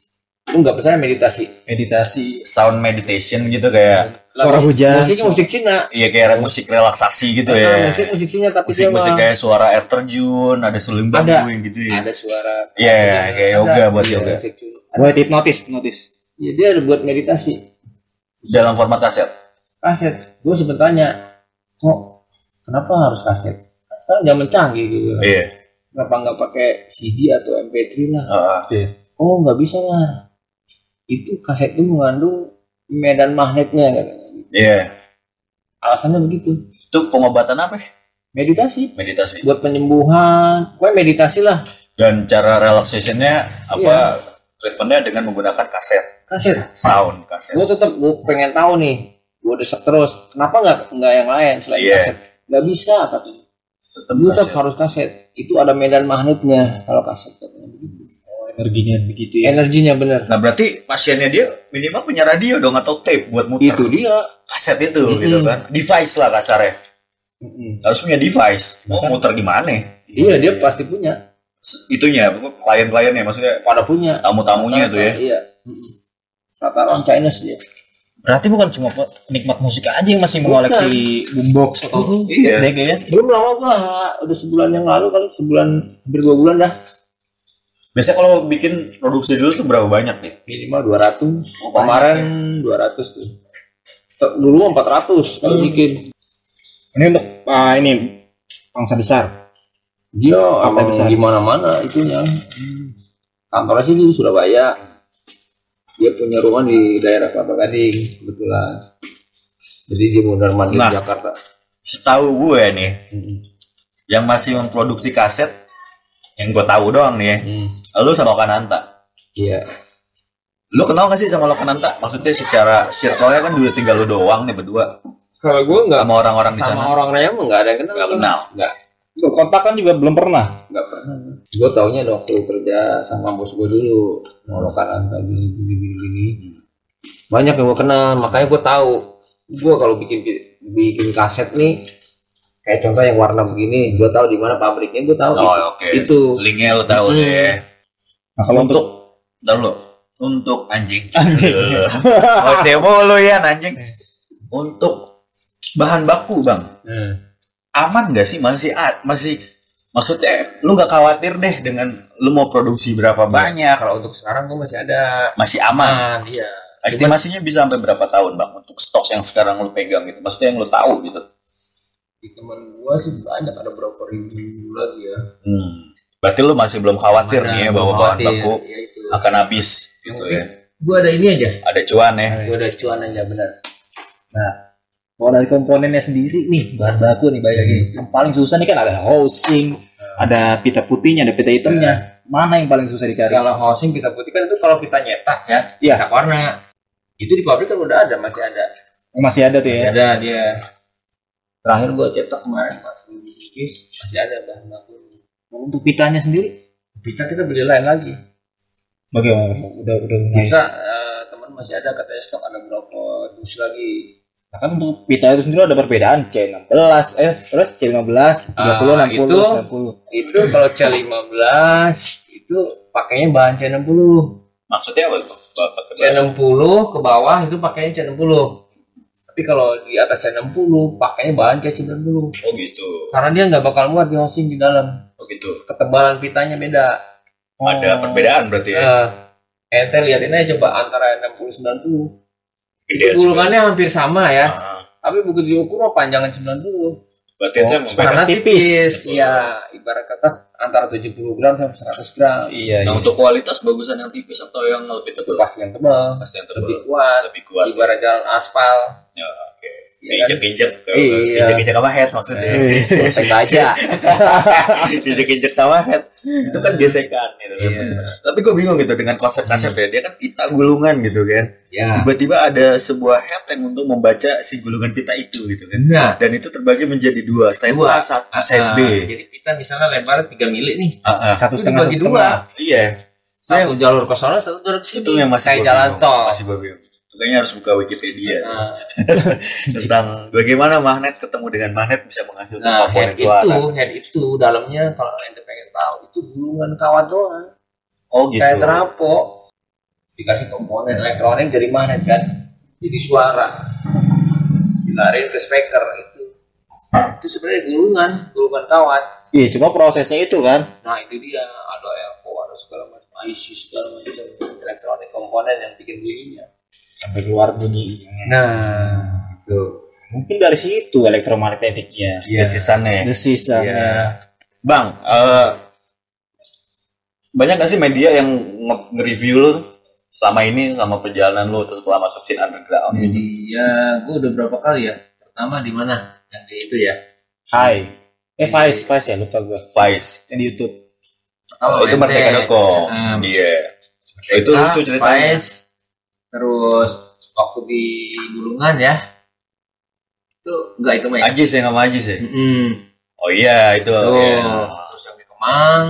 Lu nggak percaya meditasi. meditasi Sound meditation gitu kayak Suara Lagu- hujan, Oh, iya, Musiknya musik Cina. iya kayak musik relaksasi gitu ya. Nah, musik musik Cina tapi dia Musik-musik mah- kayak suara air terjun, ada suling bambu Ada. yang gitu ya. ada suara Iya, kayak yoga buat Iya, yoga. musik juga. Ada- buat hipnotis hipnotis Iya, dia ada buat meditasi Dalam format kaset. kaset gue sempet tanya kok kenapa harus kaset sekarang zaman canggih gitu Iya. kenapa nggak pakai CD atau MP3 lah Heeh. oh nggak bisa lah itu kaset itu mengandung medan magnetnya katanya. Iya. alasannya begitu Itu pengobatan apa? ya? meditasi Meditasi. buat penyembuhan pokoknya meditasi lah Dan cara relaxationnya apa? Iya. Treatmentnya dengan menggunakan kaset, kaset sound kaset. gue tetap gue pengen tahu nih gue desek terus kenapa nggak nggak yang lain selain Iya. kaset nggak bisa tapi Tetap lu tetap kaset. harus kaset itu ada medan magnetnya kalau kaset katanya begitu Oh, energinya begitu ya energinya bener Nah berarti pasiennya dia minimal punya radio dong atau tape buat muter itu dia kaset itu gitu kan device lah kasarnya harus punya device mau muter di mana iya dia pasti punya S- itunya apa, klien-kliennya maksudnya pada punya tamu-tamunya tuh ya iya Mm-mm. rata orang Chinese dia Berarti bukan cuma pe- penikmat musik aja yang masih mengoleksi boombox atau Iya. deck ya. belum lama gua udah sebulan yang lalu kali sebulan hampir dua bulan dah Biasanya kalau bikin produksi dulu tuh berapa banyak nih? minimal 200 Oh, kemarin 200 tuh Ter- dulu 400 kalau bikin Ini untuk ah, ini bangsa besar. dia Partai emang besar. gimana mana itunya kantornya sih di Surabaya dia punya ruangan di daerah Kelapa Gading kebetulan jadi dia mundar mandir Nah. Jakarta Setahu gue nih, Mm-mm. yang masih memproduksi kaset yang gue tahu doang nih. Mm. ya. Lu sama Kananta. iya Lu kenal gak sih sama lo Kananta? Maksudnya secara circle-nya kan udah tinggal lu doang nih berdua kalau gue nggak sama orang-orang di sama sana. orang Raya mah nggak ada yang kenal Nggak kenal. nggak Kontak kan juga belum pernah. nggak pernah gue taunya ada waktu kerja sama bos gue dulu ngolok kanan kayak gini gini gini gini banyak yang gue kenal makanya gue tahu gue kalau bikin bikin kaset nih kayak contoh yang warna begini gue tahu di mana pabriknya gue tahu gitu. Oh, itu, oke. itu. Linknya lu tahu Mm. deh. Nah, kalau untuk untuk Ntar lu. Untuk anjing. Anjing. Mau lu ya anjing. Untuk bahan baku, Bang. Hmm. aman gak sih masih a- masih maksudnya lu nggak khawatir deh dengan lu mau produksi berapa Iya. banyak kalau untuk sekarang gue masih ada masih aman ah iya estimasinya bisa sampai berapa tahun bang untuk stok yang sekarang lu pegang gitu maksudnya yang lu tahu gitu di teman gue sih banyak ada berapa ribu lagi ya hmm. berarti lu masih belum khawatir Mana nih ya gua bahwa bahan khawatir, baku ya itu. akan habis gitu ya gue ada ini aja ada cuan ya gue ada cuan aja benar kalau dari komponennya sendiri nih bahan baku nih banyak gini. Yang paling susah nih kan ada housing, ada pita putihnya, ada pita hitamnya. Mana yang paling susah dicari? kalau housing kita putih kan itu kalau kita nyetak ya Iya. nyetak warna itu di pabrik kan udah ada masih ada Masih ada tuh ya. Iya. masih ada dia terakhir gua cetak kemarin pas bungkus masih ada bahan baku Untuk pitanya sendiri kita kita beli lain lagi bagaimana? Udah udah Iya. mulai. kita eh, teman masih ada katanya stok ada berapa dus lagi Nah, kan untuk pita itu sendiri ada perbedaan C16 eh terus C15 30 Ah, 60 itu- 90 itu kalau C15 itu pakainya bahan C60 maksudnya apa tuh? Bapak tebak. C60 ke bawah itu pakainya C60 tapi kalau di atas C60 pakainya bahan C90 oh gitu karena dia nggak bakal muat di housing di dalam oh gitu ketebalan pitanya beda Oh. Oh. ada perbedaan berarti ya Eh, ente lihat ini aja coba antara 60 90 Gede sih. gulungannya hampir sama ya Ah, tapi begitu diukur mah panjangan 90 berarti Oh, itu emang beda. karena tipis. tipis ya ibarat kertas antara 70 gram sampai 100 gram iya nah untuk kualitas bagusan yang tipis atau yang lebih tebal pasti yang tebal pasti yang tebal lebih kuat lebih kuat ibarat jalan aspal Ya, oke. Iya kan? Injek-injek. Iya. Injek-injek sama head maksudnya. Gosek aja Injek-injek sama head. Itu kan gesekan gitu kan. Iya. Tapi gue bingung gitu dengan konsep Hmm. konsep ya. Dia kan pita gulungan gitu kan. ya Tiba-tiba ada sebuah head yang untuk membaca si gulungan pita itu gitu kan. nah Dan itu terbagi menjadi dua, side A, Dua. satu, side B. ah, jadi kita misalnya lebar 3 mili nih Ah, ah. satu itu setengah dibagi satu setengah. dua Iya, satu jalur ke sana satu jalur ke sini itu yang masih kayak gua jalan bingung. tol Masih gue bingung. Kayaknya harus buka Wikipedia Nah, tentang bagaimana magnet ketemu dengan magnet bisa menghasilkan Nah, komponen head suara. itu, head itu dalamnya kalau ente pengen tahu itu gulungan kawat doang, Oh gitu. kayak terapok dikasih komponen elektronik dari magnet kan, jadi suara dilarin ke speaker itu. Itu sebenarnya gulungan, gulungan kawat. iya cuma prosesnya itu kan Nah itu dia ada elko, ada segala macam IC segala macam elektronik komponen yang bikin bunyinya. sampai keluar bunyi Nah itu mungkin dari situ elektromagnetiknya Iya. Desisannya ya. Nah, desisnya Iya. Bang, eh, banyak gak sih media yang nge- nge-review lu selama ini sama perjalanan lu terus setelah masuk scene underground? Hmm. media gue ya, udah berapa kali ya? Pertama di mana? Yang di itu ya. Hai eh Vice Vice ya lupa gua Vice. yang di YouTube Pertama Oh, itu ente. merdeka.com. Em, Iya. Itu Ah, lucu ceritanya. Paes, terus waktu di Bulungan ya. Itu enggak itu main. Ajis ya nama Ajis ya. Mm-mm. Oh iya itu. Hmm. Tuh. iya. Terus yang di Kemang.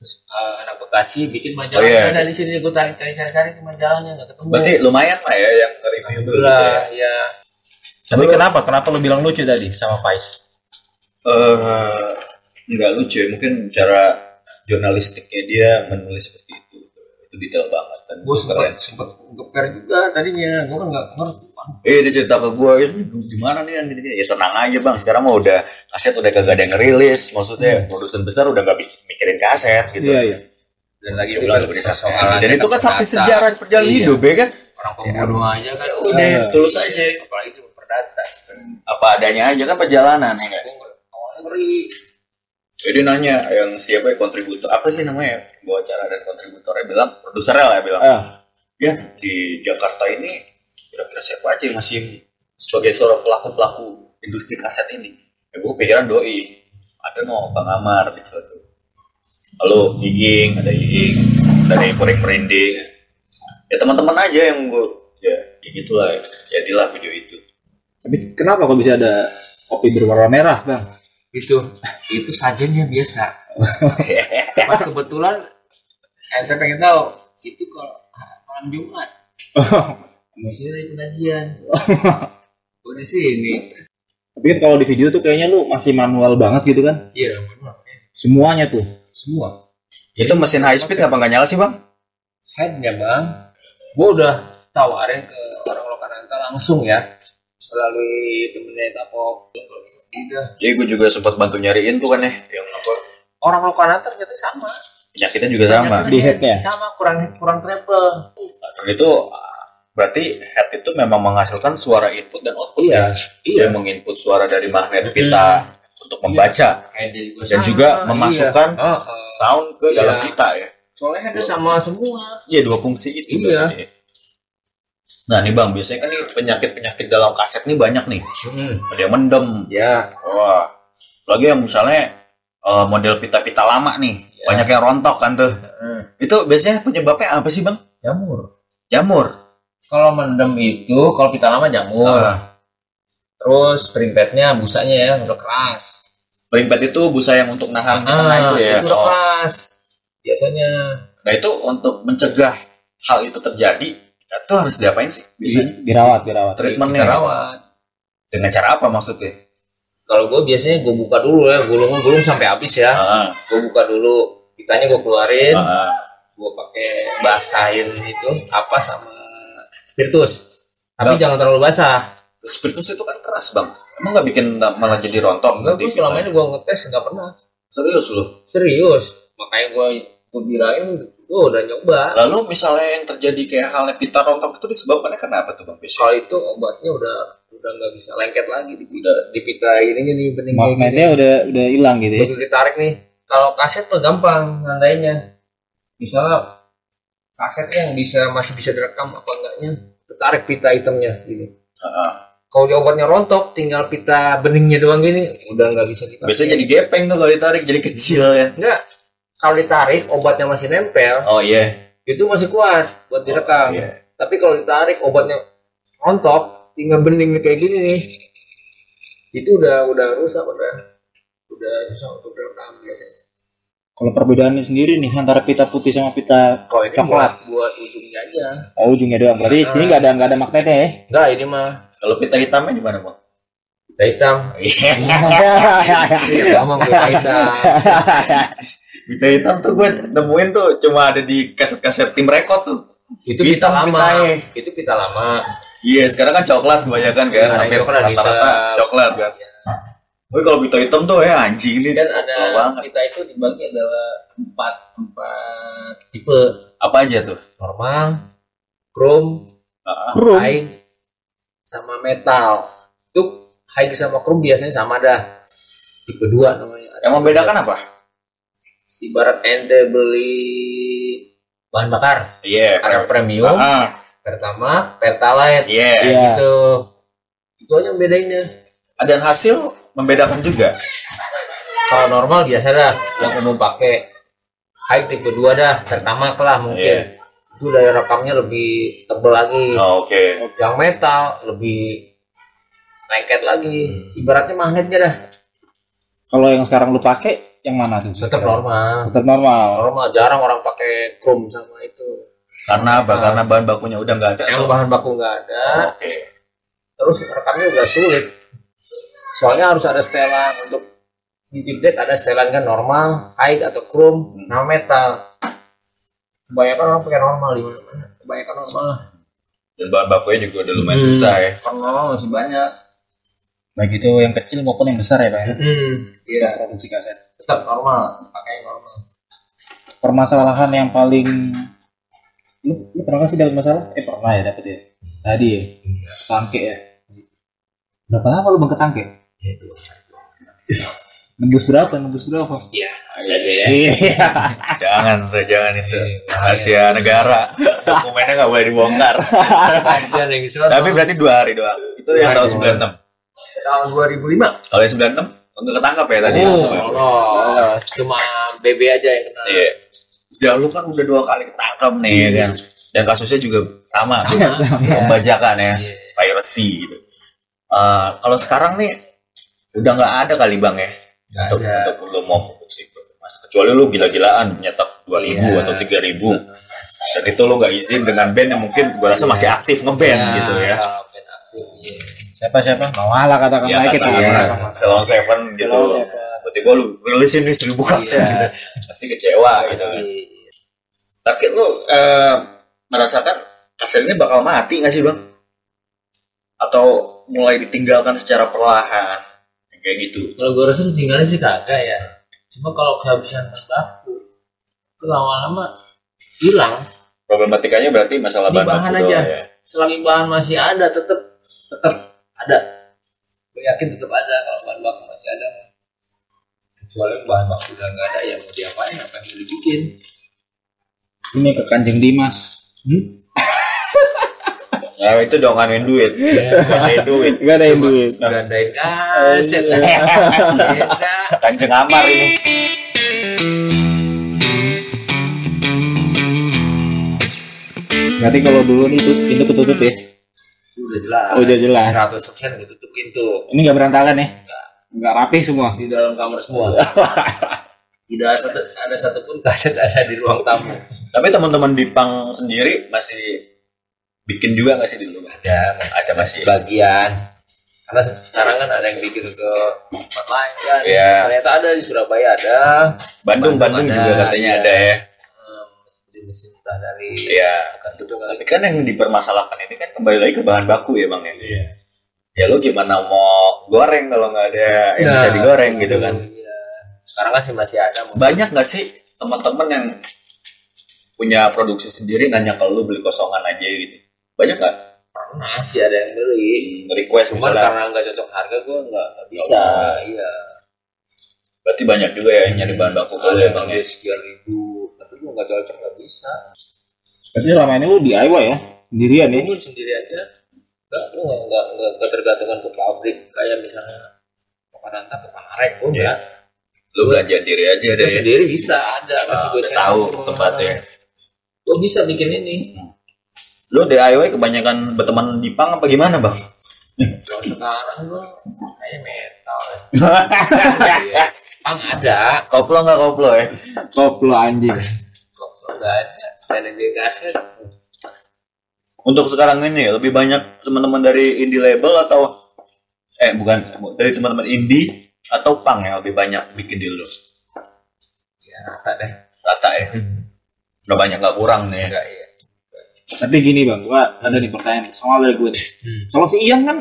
Terus eh, anak Bekasi bikin majalah Oh, iya. ada di sini gue tarik tarik cari cari ke majalahnya enggak ketemu. Berarti lumayan lah ya yang nge-review lu. Alhamdulillah, ya. tapi kenapa kenapa lu bilang lucu tadi sama Vice eh nggak lucu ya mungkin cara jurnalistiknya dia menulis seperti itu itu detail banget dan gue itu keren sempet sempet geper juga tadinya gue kan nggak ngerti Wah, eh dia cerita ke gue gimana nih gini, gini. ya tenang aja bang sekarang mah udah kaset udah kagak ada yang rilis maksudnya produsen besar udah gak mikirin kaset gitu Hmm. Iya, iya. dan lagi Dia itu bilang kan gak beli kaset. persoalan dan itu kan saksi data. sejarah perjalanan Iya. hidup ya kan orang pembunuh aja kan udah tulus aja apalagi cuma perdata apa adanya aja kan perjalanan ya nggak? gue awalnya ngeri jadi nanya yang siapa ya kontributor apa sih namanya bawa acara dan kontributornya bilang produsernya lah ya bilang Ah. ya di Jakarta ini kira-kira siapa aja yang masih sebagai seorang pelaku pelaku industri kaset ini ya gue pikiran doi ada no Bang Amar di Ciledug lalu Iing ada Iing ada yang goreng merinding ya teman-teman aja yang gue ya, ya gitulah ya. jadilah video itu Tapi kenapa kok bisa ada kopi berwarna merah, Bang? itu Gitu. itu sajennya biasa pas kebetulan ente pengen tahu itu kalau malam Jumat di sini lagi pengajian gue di sini Tapi kan kalau di video tuh kayaknya lu masih manual banget gitu kan. iya benar Semuanya tuh. semua itu mesin high speed apa nggak nyala sih bang headnya bang gue udah tawarin ke orang Lokananta langsung ya melalui temennya Kapok udah ya gue juga sempat bantu nyariin tuh kan ya yang apa orang Lokananta ternyata sama penyakitnya juga sama Di headnya? sama kurang kurang treble Dan itu ah, berarti head itu memang menghasilkan suara input dan output ya. iya Mm-hmm. Dia menginput suara dari magnet pita untuk membaca headnya juga dan sama, juga iya. memasukkan Ah, ah. sound ke Iya. dalam pita ya. soalnya headnya sama semua Iya dua fungsi itu. Iya. berarti. Nah nih bang, biasanya kan nih penyakit-penyakit dalam kaset nih banyak nih. Ada yang mendem. ya Wah. Lagi yang misalnya eh, model pita-pita lama nih, Iya. banyak yang rontok kan tuh. Itu biasanya penyebabnya apa sih bang? jamur Jamur. kalau mendem itu kalau pita lama jamur Ah. terus trimpetnya busanya ya udah keras Nah, Perimpet itu busa yang untuk nahan Ah, di tengah itu ya. udah Oh. keras biasanya Nah itu untuk mencegah hal itu terjadi, kita tuh harus diapain sih? Iya. Biasanya Dirawat, dirawat. treatmentnya kita rawat dengan cara apa maksudnya? kalau gue biasanya gue buka dulu ya gulung gulung sampai habis ya Ah, gue buka dulu pitanya gue keluarin ah, gue pakai basahin itu apa sama spiritus Nah. tapi jangan terlalu basah spiritus itu kan keras bang. Emang nggak bikin malah jadi rontok? enggak gue Nanti selama kita- ini gue ngetes nggak pernah serius loh. serius makanya gue gue bilangin gue udah nyoba Lalu misalnya yang terjadi kayak halnya pita rontok itu disebabkannya kenapa tuh bang? Biasanya kalau itu obatnya udah udah nggak bisa lengket lagi di pita di pita ini nih bening kayak gini Magnetnya udah udah hilang gitu ya. begitu ditarik nih kalau kaset mah gampang ngandainya misalnya kasetnya yang bisa masih bisa direkam apa enggaknya tarik pita hitamnya gitu Ah, kalau di obatnya rontok tinggal pita beningnya doang gini udah nggak bisa dipakai biasanya jadi gepeng tuh kalau ditarik jadi kecil ya. enggak kalau ditarik obatnya masih nempel Oh iya. itu masih kuat buat direkam iya. tapi kalau ditarik obatnya rontok tinggal bening nih kayak gini nih itu udah udah rusak udah udah susah untuk direkam biasanya Kalau perbedaannya sendiri nih antara pita putih sama pita Kalau ini Coklat. buat, buat ujungnya aja. oh, ujungnya doang. Berarti sini nggak ada nggak ada magnetnya ya. Enggak, ini mah Kalau pita hitamnya di mana bang? pita hitam. Iya. Iya, mah pita hitam. pita hitam tuh gue nemuin tuh cuma ada di kaset-kaset tim rekod tuh. Itu pita Hitam lama. pitanya. Itu pita lama. Iya, sekarang kan coklat kebanyakan kan, Nah, Ada hampir coklat, rata-rata hitam. coklat kan. Iya. Wih kalau pita hitam tuh ya anjing ini Dan tolol ada banget. pita itu dibagi adalah empat empat tipe Apa aja tuh? normal, chrome, Ah, high, sama metal. Itu high sama chrome biasanya sama dah. Tipe 2 namanya. Ada Yang membedakan apa? ibarat ente beli bahan bakar, Iya. ada Yeah, premium, ah, pertama pertalite, iya. Iya. itu itu aja yang ya. bedainnya Ah, Dan hasil membedakan juga. kalau normal biasa dah yang umum pakai high tipe 2 dah pertama lah mungkin itu daya rekamnya lebih tebel lagi Oh, Oke. yang metal lebih lengket lagi ibaratnya magnetnya dah Kalau yang sekarang lu pakai yang mana tuh? tetap normal Tetap normal. normal jarang orang pakai chrome sama itu Karena apa? Karena bahan bakunya udah nggak ada. tuh. yang bahan baku nggak ada Oke. terus rekamnya juga sulit soalnya harus ada setelan untuk Hmm. di tip deck ada setelan kan normal high atau chrome nah metal kebanyakan orang pakai normal di mana-mana. Kebanyakan normal lah. dan bahan bakunya juga udah lumayan susah ya Orang normal masih banyak. baik itu yang kecil maupun yang besar ya pak ya Hmm, iya. produksi kaset Tetap normal, pakai yang normal. permasalahan yang paling lu, lu pernah nggak sih dapat masalah eh pernah ya dapet ya tadi ya tangke ya berapa lama lu bangke tangke nembus berapa nembus berapa Iya, ya. jangan saya jangan itu rahasia negara dokumennya nggak boleh dibongkar Kasihan yang disuruh. tapi berarti dua hari doang itu yang tahun 96 tahun 2005. kalau yang 96 nggak ketangkap ya tadi Oh, cuma BB aja yang kena. Iya. Jauh lu kan udah dua kali ketangkep nih ya kan. Dan kasusnya juga sama, pembajakan ya, piracy gitu. Eh, kalau sekarang nih udah nggak ada kali bang ya untuk ada. untuk lu mau produksi mas kecuali lu gila-gilaan nyetak 2000 Iya. atau 3000 dan itu lu nggak izin dengan band yang mungkin gua rasa masih aktif ngeband Iya. gitu ya siapa siapa mawalah kata kamu ya ya, kita katakan Mawalah. Salon Seven gitu tiba-tiba lu rilisin nih seribu kaset Iya. gitu pasti kecewa gitu kan. Tapi lu eh, merasakan kaset ini bakal mati nggak sih bang? Atau mulai ditinggalkan secara perlahan kayak gitu? Kalau gue rasa ditinggalin sih kagak ya. Cuma kalau kehabisan baku, itu lama-lama hilang. Problematikanya berarti masalah Di bahan bahan baku aja. doang ya. Selagi bahan masih ada, tetap tetap ada. Gue yakin tetap ada kalau bahan baku masih ada. Kecuali bahan baku udah nggak ada, ya mau diapain? Apa yang mau dibikin? ini ke kanjeng dimas Ya itu dong nganuin duit, Iya. nganuin duit. Gak ada yang duit. Nah. Gandain kaset. Iya. Beda. Kanjeng Amar ini. Nanti kalau dulu nih itu pintu ketutup ya. Udah jelas. Udah jelas. 100 persen gue tutup pintu. Ini nggak berantakan ya? Nggak rapi semua. di dalam kamar semua. Tidak ada satu, ada satupun kaset ada di ruang tamu. Tapi teman-teman di Pang sendiri masih bikin juga nggak sih di luar? Ya, masih Ada masih. sebagian. Karena sekarang kan ada yang bikin ke tempat lain kan. Iya. Ternyata ada di Surabaya ada. Bandung, Bandung, Bandung juga ada, katanya iya. ada ya. Em, Mesin-mesin Ehm, entah dari Iya. Bekasi itu kan. Tapi kan yang dipermasalahkan ini kan kembali lagi ke bahan baku ya bang ya. Iya. Ya lu gimana mau goreng kalau nggak ada yang Nah, bisa digoreng gitu kan. Iya. Sekarang kan sih masih ada. Banyak nggak sih teman-teman yang punya produksi sendiri nanya kalau lu beli kosongan aja gitu. Banyak nggak Pernah sih ada yang beli. request Cuman misalnya? karena nggak cocok harga gue nggak nggak bisa. Iya. Nggak Iya. Berarti banyak juga ya yang nyari bahan baku kalau Ada ya yang bang ya. beli sekian ribu. Tapi gue nggak cocok nggak bisa. berarti selama ini lu DIY ya sendirian ya Ini lu sendiri aja nggak lu nggak nggak nggak ketergantungan ke pabrik kayak misalnya makanan tak ke Pangarek gua Iya. nggak Lu belanja diri aja Gua deh. sendiri bisa ada Iya. Ah, masih gue udah tahu tempatnya. gue bisa bikin ini Lu DIY kebanyakan berteman di pang apa gimana bang? kalau sekarang gua kayak metal ya pang ada Koplo nggak koplo ya? Koplo anjing. kok nggak ada dan yang di kaset untuk sekarang ini lebih banyak teman-teman dari indie label atau eh bukan dari teman-teman indie atau punk yang lebih banyak bikin deal lu ya rata deh rata ya Hmm. nggak banyak nggak kurang nih enggak ya tapi gini bang gua ada nih pertanyaan nih soal dari gue nih kalau si Ian kan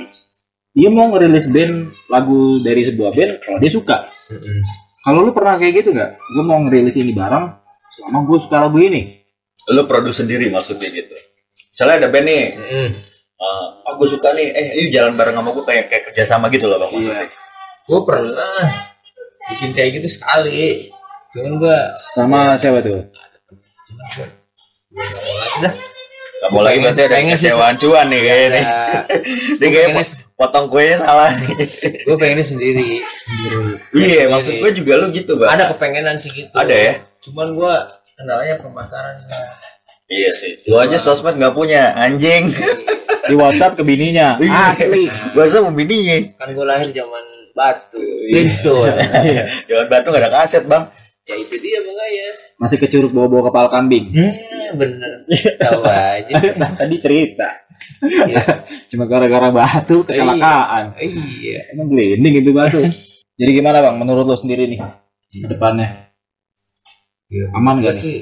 dia mau ngerilis band lagu dari sebuah band kalau dia suka kalau lu pernah kayak gitu nggak gue mau ngerilis ini barang selama gue suka lagu ini lu produce sendiri maksudnya gitu misalnya ada band nih eh, oh gue suka nih eh yuk jalan bareng sama gue kayak kayak kerjasama gitu loh bang Iya. maksudnya gue pernah bikin kayak gitu sekali cuman gue sama siapa tuh nggak mau lagi berarti ada pengen sih- Iya. kecewaan cuan nih kayaknya nih Eh, dia kayak pengen Iya, po- potong kuenya salah nih gue pengennya sendiri iya maksud gue juga lu gitu bang ada kepengenan sih gitu Ada ya? cuman gue kendalanya pemasaran iya sih lu aja sosmed nggak punya anjing Di WhatsApp ke bininya. asli bahasa membininya kan gue lahir zaman batu Iya. Flintstone Jalan Batu gak ada kaset bang ya itu dia makanya Masih kecuruk bawa-bawa kepala kambing. Hmm? ya, bener tahu aja Nah, tadi cerita. Cuma gara-gara batu kecelakaan. iya Emang gelinding itu batu. jadi gimana bang menurut lo sendiri nih ke depannya aman gak nih sih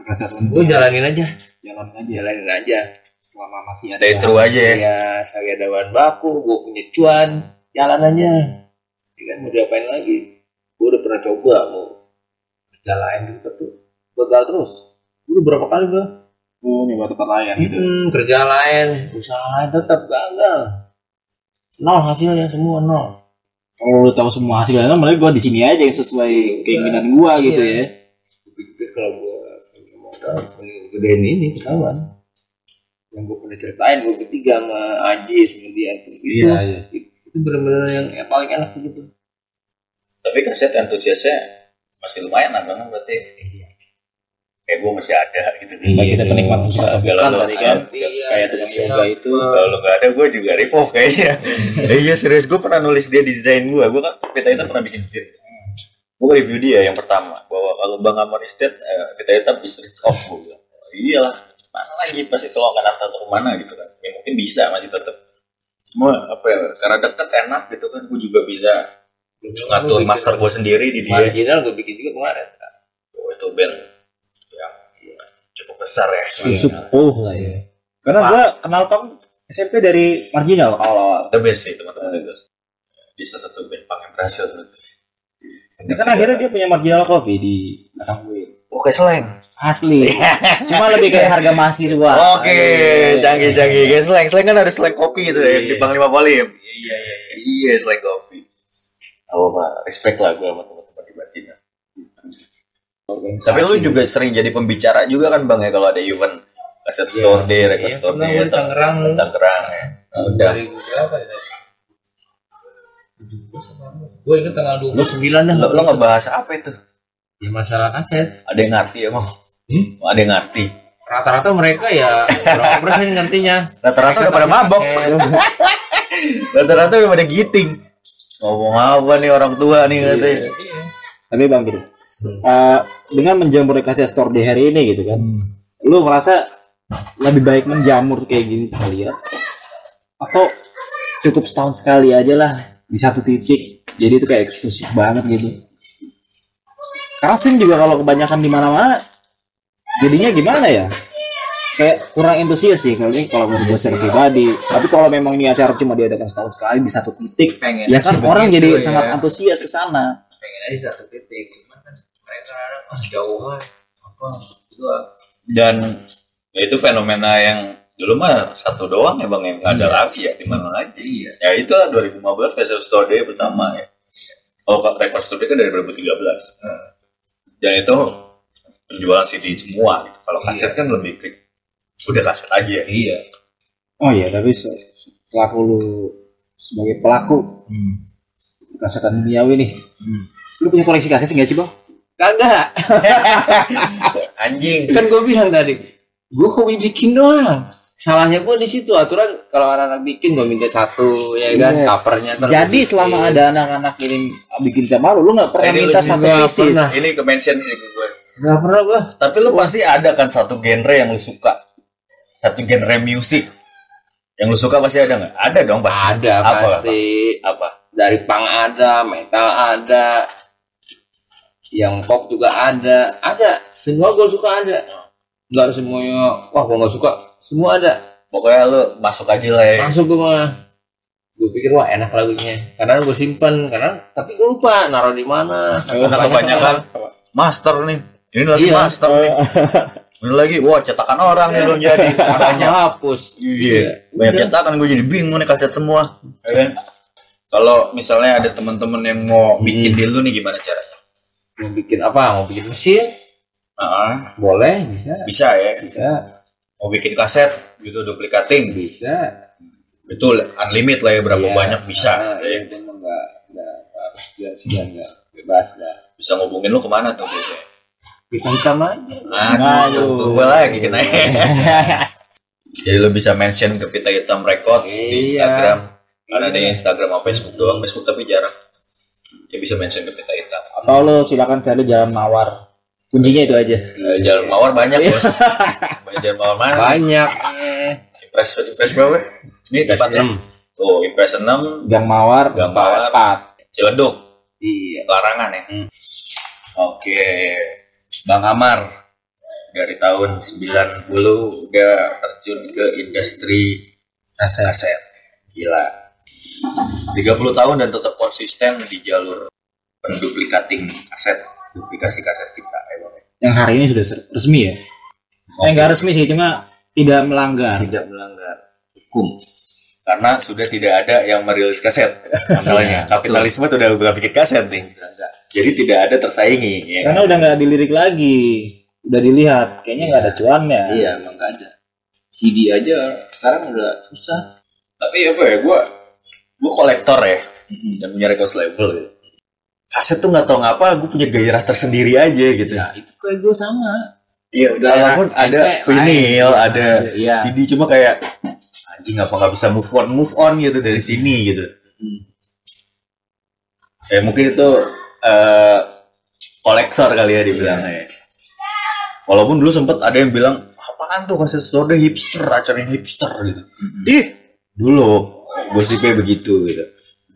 Rasa Gue jalanin aja, jalan aja jalanin aja. selama masih Stay ada true aja ya. Ya, saya ada bahan baku, gue punya cuan, jalan aja. Ya kan mau diapain lagi? Gue udah pernah coba mau kerja lain gitu tapi gagal terus. Udah berapa kali gue? Lu nyoba tempat lain gitu. Hmm, kerja lain, usaha lain tetap gagal. Nol hasilnya semua nol. Kalau lu tahu semua hasilnya, malah gua di sini aja yang sesuai keinginan gua gitu Iya. ya. pikir kalau gue mau gedein ini ketahuan yang gue pernah ceritain gue bertiga sama Aji sama dia itu itu, iya. itu benar-benar yang eh, paling enak gitu Tapi kaset antusiasnya masih lumayan abang berarti. Kayak gue masih ada gitu. Bagi kita penikmat musik Kalau bukan lo- tadi kan Iya, kayak tukang iya. yoga itu Kalau lo nggak ada gue juga revolve kayaknya. Eh, iya serius gue pernah nulis dia desain gue. Gue kan Vita Hitam pernah bikin sih. Gue review dia yang pertama bahwa kalau Bang Amar Estate eh, Vita Hitam is revolve gue bilang. "Oh, Iyalah mana lagi pasti kalau nggak daftar atau kemana gitu kan. Ya mungkin bisa masih tetap. Cuma apa ya karena deket enak gitu kan gue juga bisa ngatur master gue sendiri di dia. marginal gue bikin juga kemarin Oh, itu band yang Ya, cukup besar ya. Iya. susu oh lah ya. Karena gua kenal Pang SMP dari Oh, marginal awal-awal. The best sih teman-teman itu. Bisa satu band punk yang berhasil. Kan akhirnya dia punya marginal coffee di belakang gue. Oke slang. Asli. Cuma lebih kayak harga mahasiswa. Oke, canggih-canggih. Guys, slang slang kan ada slang kopi gitu ya di Panglima Polim. Iya iya iya. Iya slang kopi. Oh, Pak, respect lah gue sama teman-teman di Batina. Tapi lu juga sering jadi pembicara juga kan Bang ya kalau ada event kaset store day, record Iya, store pernah day, gue di atau- Tangerang. Tangerang ya. Nah, Udah. ya? gue ingat tanggal 29 dah Lo, lo ngebahas apa itu? ya masalah kaset Ada yang ngerti ya mau? Ada yang ngerti. rata-rata mereka ya berapa persen ngertinya Rata-rata udah pada mabok. Rata-rata udah pada giting. Ngomong apa nih orang tua nih katanya. Tapi Bang gitu. eh, dengan menjamur kasih store di hari ini gitu kan. Hmm. Lu merasa lebih baik menjamur kayak gini sekalian atau cukup setahun sekali aja lah di satu titik jadi itu kayak eksklusif banget gitu karena sim juga kalau kebanyakan di mana-mana jadinya gimana ya kayak kurang antusias sih kalau ini kalau menurut gue secara pribadi tapi kalau memang ini acara cuma diadakan setahun sekali di satu titik Pengen ya kan sih orang jadi begitu ya. sangat antusias ke sana pengen aja di satu titik cuman kan mereka kadang ah jauh ah apa gitu ah dan ya itu fenomena yang dulu mah satu doang ya bang yang nggak ada lagi ya di mana lagi Iya. ya itu 2015 Special Store Day pertama ya oh Kak, record store day kan dari 2013 Hmm. dan itu penjualan CD semua gitu. kalau kaset kan lebih ke udah kaset aja ya. iya Oh iya, tapi se- selaku lu sebagai pelaku Hmm. kasetan duniawi nih, lu punya koleksi kaset nggak sih bang? kagak anjing kan gue bilang tadi gue hobi bikin doang salahnya gue di situ aturan kalau anak-anak bikin gue minta satu ya kan Iya. covernya ntar gua Jadi bikin. selama ada anak-anak ini bikin jam baru, lu nggak pernah Ini minta lu satu juga pieces. pernah. ini ke mention sih ke gue nggak pernah gue tapi lu pasti ada kan satu genre yang lu suka satu genre musik yang lu suka pasti ada nggak ada dong pasti ada apa pasti apa dari pang ada metal ada yang pop juga ada ada semua gue suka ada nggak semuanya wah gue nggak suka semua ada pokoknya lu masuk aja lah ya langsung gue mah gue pikir wah enak lagunya karena gue simpen karena tapi gue lupa naruh di mana Karena kebanyakan master nih. Ini lagi Iya. master nih. Ini lagi wah cetakan orang nih belum jadi. banyak Banyak. hapus Iya. Banyak Udah. cetakan gue jadi bingung nih kaset semua. Ya kan? Kalau misalnya ada teman-teman yang mau bikin Hmm. deal lu nih gimana caranya? mau bikin apa mau bikin mesin Ah, boleh bisa bisa ya. bisa Mau bikin kaset gitu duplikating. bisa Itu unlimited lah ya berapa Iya. banyak bisa. nah, ya itu mah nggak nggak harus dia sudah nggak bebas dah Bisa ngubungin lu kemana tuh Ah, biasanya? kita hitam aja Aduh, gue lagi kena. Jadi lo bisa mention ke Pita Hitam Records di Iya. Instagram. Karena ada yang Instagram sama Facebook doang. Facebook tapi jarang. Ya bisa mention ke Pita Hitam. Atau lu silakan cari jalan mawar. Kuncinya itu aja. Eh, Jalan mawar banyak bos. Iya. Banyak Jalan mawar mana? banyak Impress, impress berapa? Ini tempatnya. enam. Tuh, impress 6, Gang mawar, Gang Mawar. empat. Ciledug, iya larangan ya. Oke. Bang Amar. dari tahun 90 udah terjun ke industri aset. Gila. 30 tahun dan tetap konsisten di jalur penduplikating kaset, duplikasi kaset kita. ya, Emang. Yang hari ini sudah ser- resmi ya? Eh, nggak resmi sih, cuma tidak melanggar. Tidak melanggar. Hukum. Karena sudah tidak ada yang merilis kaset. Masalahnya kapitalisme tuh udah udah bikin kaset nih. Jadi tidak ada tersaingi ya. kan? Karena udah nggak dilirik lagi, udah dilihat. Kayaknya nggak ada cuannya. Iya, emang gak ada. CD aja sekarang udah susah. tapi apa ya gue gue kolektor ya dan punya record label gitu. kaset tuh nggak tau ngapa gue punya gairah tersendiri aja gitu Nah, itu kayak gue sama. iya udah Gairah walaupun ada ente vinyl lain. ada Iya. CD cuma kayak anjing apa nggak bisa move on move on gitu dari sini gitu Hmm. ya mungkin itu eh, kolektor kali ya dibilangnya Iya. ya. walaupun dulu sempet ada yang bilang apaan tuh kaset store deh hipster acaranya hipster gitu Hmm. ih dulu gosipnya begitu gitu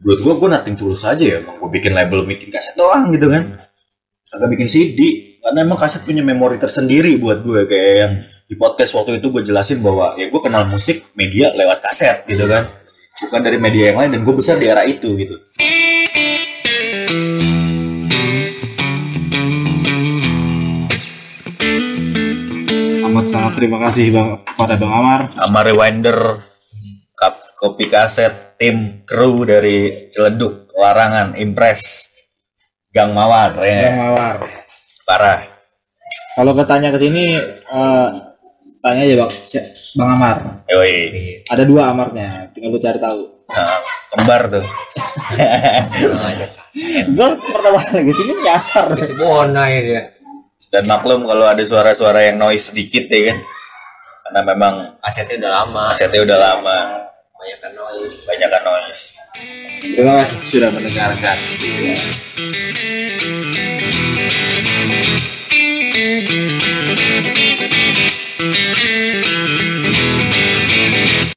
menurut gua gua nating tulus aja ya emang gua bikin label bikin kaset doang gitu kan agak bikin CD karena emang kaset punya memori tersendiri buat gue kayak yang di podcast waktu itu gue jelasin bahwa ya gue kenal musik media lewat kaset gitu kan bukan dari media yang lain dan gue besar di era itu gitu Amat sangat terima kasih bang kepada Bang Amar. sama Rewinder kap- kopi kaset tim kru dari Ciledug Larangan Impress Gang Mawar Eh, Bang ya Mawar. parah Kalau ketanya ke sini, eh, tanya aja bang, si- bang Amar. Yoi. Ada dua Amarnya, tinggal lu cari tahu. Nah, kembar tuh Gue pertama kali ke sini nyasar. Si Bona ya dia. dan maklum kalau ada suara-suara yang noise sedikit ya kan karena memang Asetnya udah lama. kasetnya udah lama Banyak kan noise. banyak kan noise Terima kasih sudah mendengarkan.